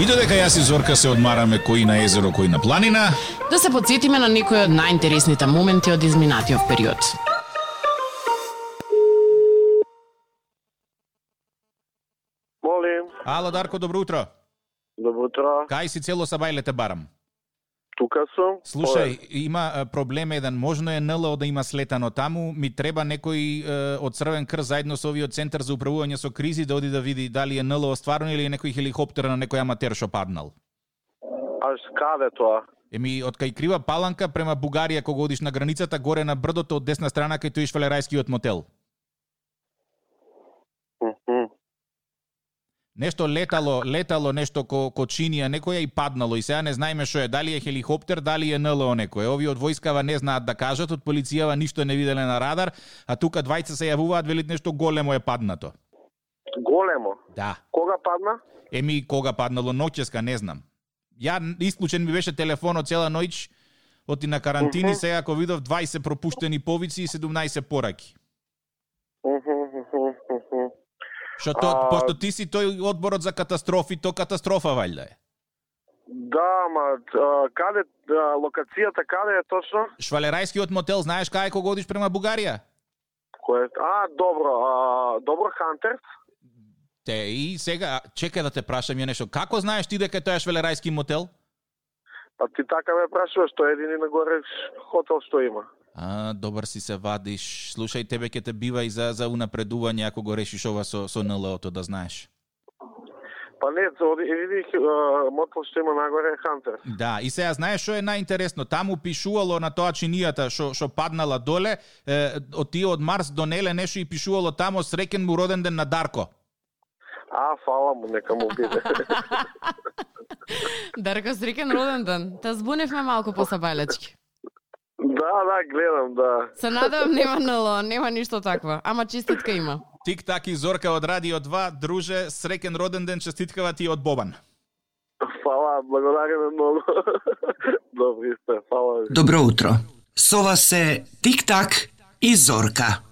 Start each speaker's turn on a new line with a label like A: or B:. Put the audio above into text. A: И додека јас и Зорка се одмараме кој на езеро, кој на планина,
B: Да се подсетиме на некои од најинтересните моменти од изминатиот период.
C: Молим,
A: Ало, Дарко, добро утро.
C: добро утро.
A: Кај си цело сабајле те барам.
C: Тука сум.
A: Слушај,
C: Ой,
A: има е, проблем еден. Можно е НЛО да има слетано таму, ми треба некој е, од Црвен крст заедно со овиот центар за управување со кризи да оди да види дали е НЛО стварно или е некој хеликоптер на некој аматер што паднал.
C: аж каде тоа?
A: Еми, од кај Крива Паланка према Бугарија, кога одиш на границата, горе на брдото од десна страна, кај тој швалерајскиот мотел.
C: Мгм.
A: Нешто летало, летало нешто ко, ко Чинија, некоја и паднало и сега не знаеме што е, дали е хеликоптер, дали е НЛО некој. Овие од војскава не знаат да кажат, од полицијава ништо не виделе на радар, а тука двајца се јавуваат, велит нешто големо е паднато.
C: Големо.
A: Да.
C: Кога падна?
A: Еми кога паднало ноќеска, не знам. Ја исклучен ми беше телефонот цела ноќ, оти на карантини, сега кога видов 20 пропуштени повици и 17 пораки.
C: Мгм, мгм, мгм.
A: Што то,
C: А-
A: пошто ти си тој одборот за катастрофи, то катастрофа валјда е.
C: Да, ма, а, каде, а, локацијата каде е точно?
A: Швалерајскиот мотел, знаеш кај кога одиш према Бугарија?
C: Кое? А, добро, а, добро Хантерс.
A: Те и сега чека да те прашам ја нешто. Како знаеш ти дека тоа е швелерајски мотел?
C: А ти така ме прашуваш, што е едини нагоре ш- хотел што има.
A: А, добар си се вадиш. Слушај, тебе ќе те бива и за за унапредување ако го решиш ова со со НЛО-то да знаеш.
C: Па не, за оди- едини а, мотел што има нагоре е Хантерс.
A: Да, и сега знаеш што е најинтересно? Таму пишувало на тоа чинијата што што паднала доле, е, од тие од Марс донеле нешто и пишувало тамо среќен му роден ден на Дарко.
C: А, фала му, нека му биде.
B: Дарка, среќен роден ден. Та збуневме малку по сабајлечки.
C: да, да, гледам, да.
B: Се надевам нема НЛО, нема ништо такво, ама честитка има.
A: Тик так и Зорка од Радио 2, друже, среќен роден ден, честиткава ти од Бобан.
C: Фала, благодариме многу. Добри сте, фала ви.
D: Добро утро. Со вас се Тик-так и Зорка.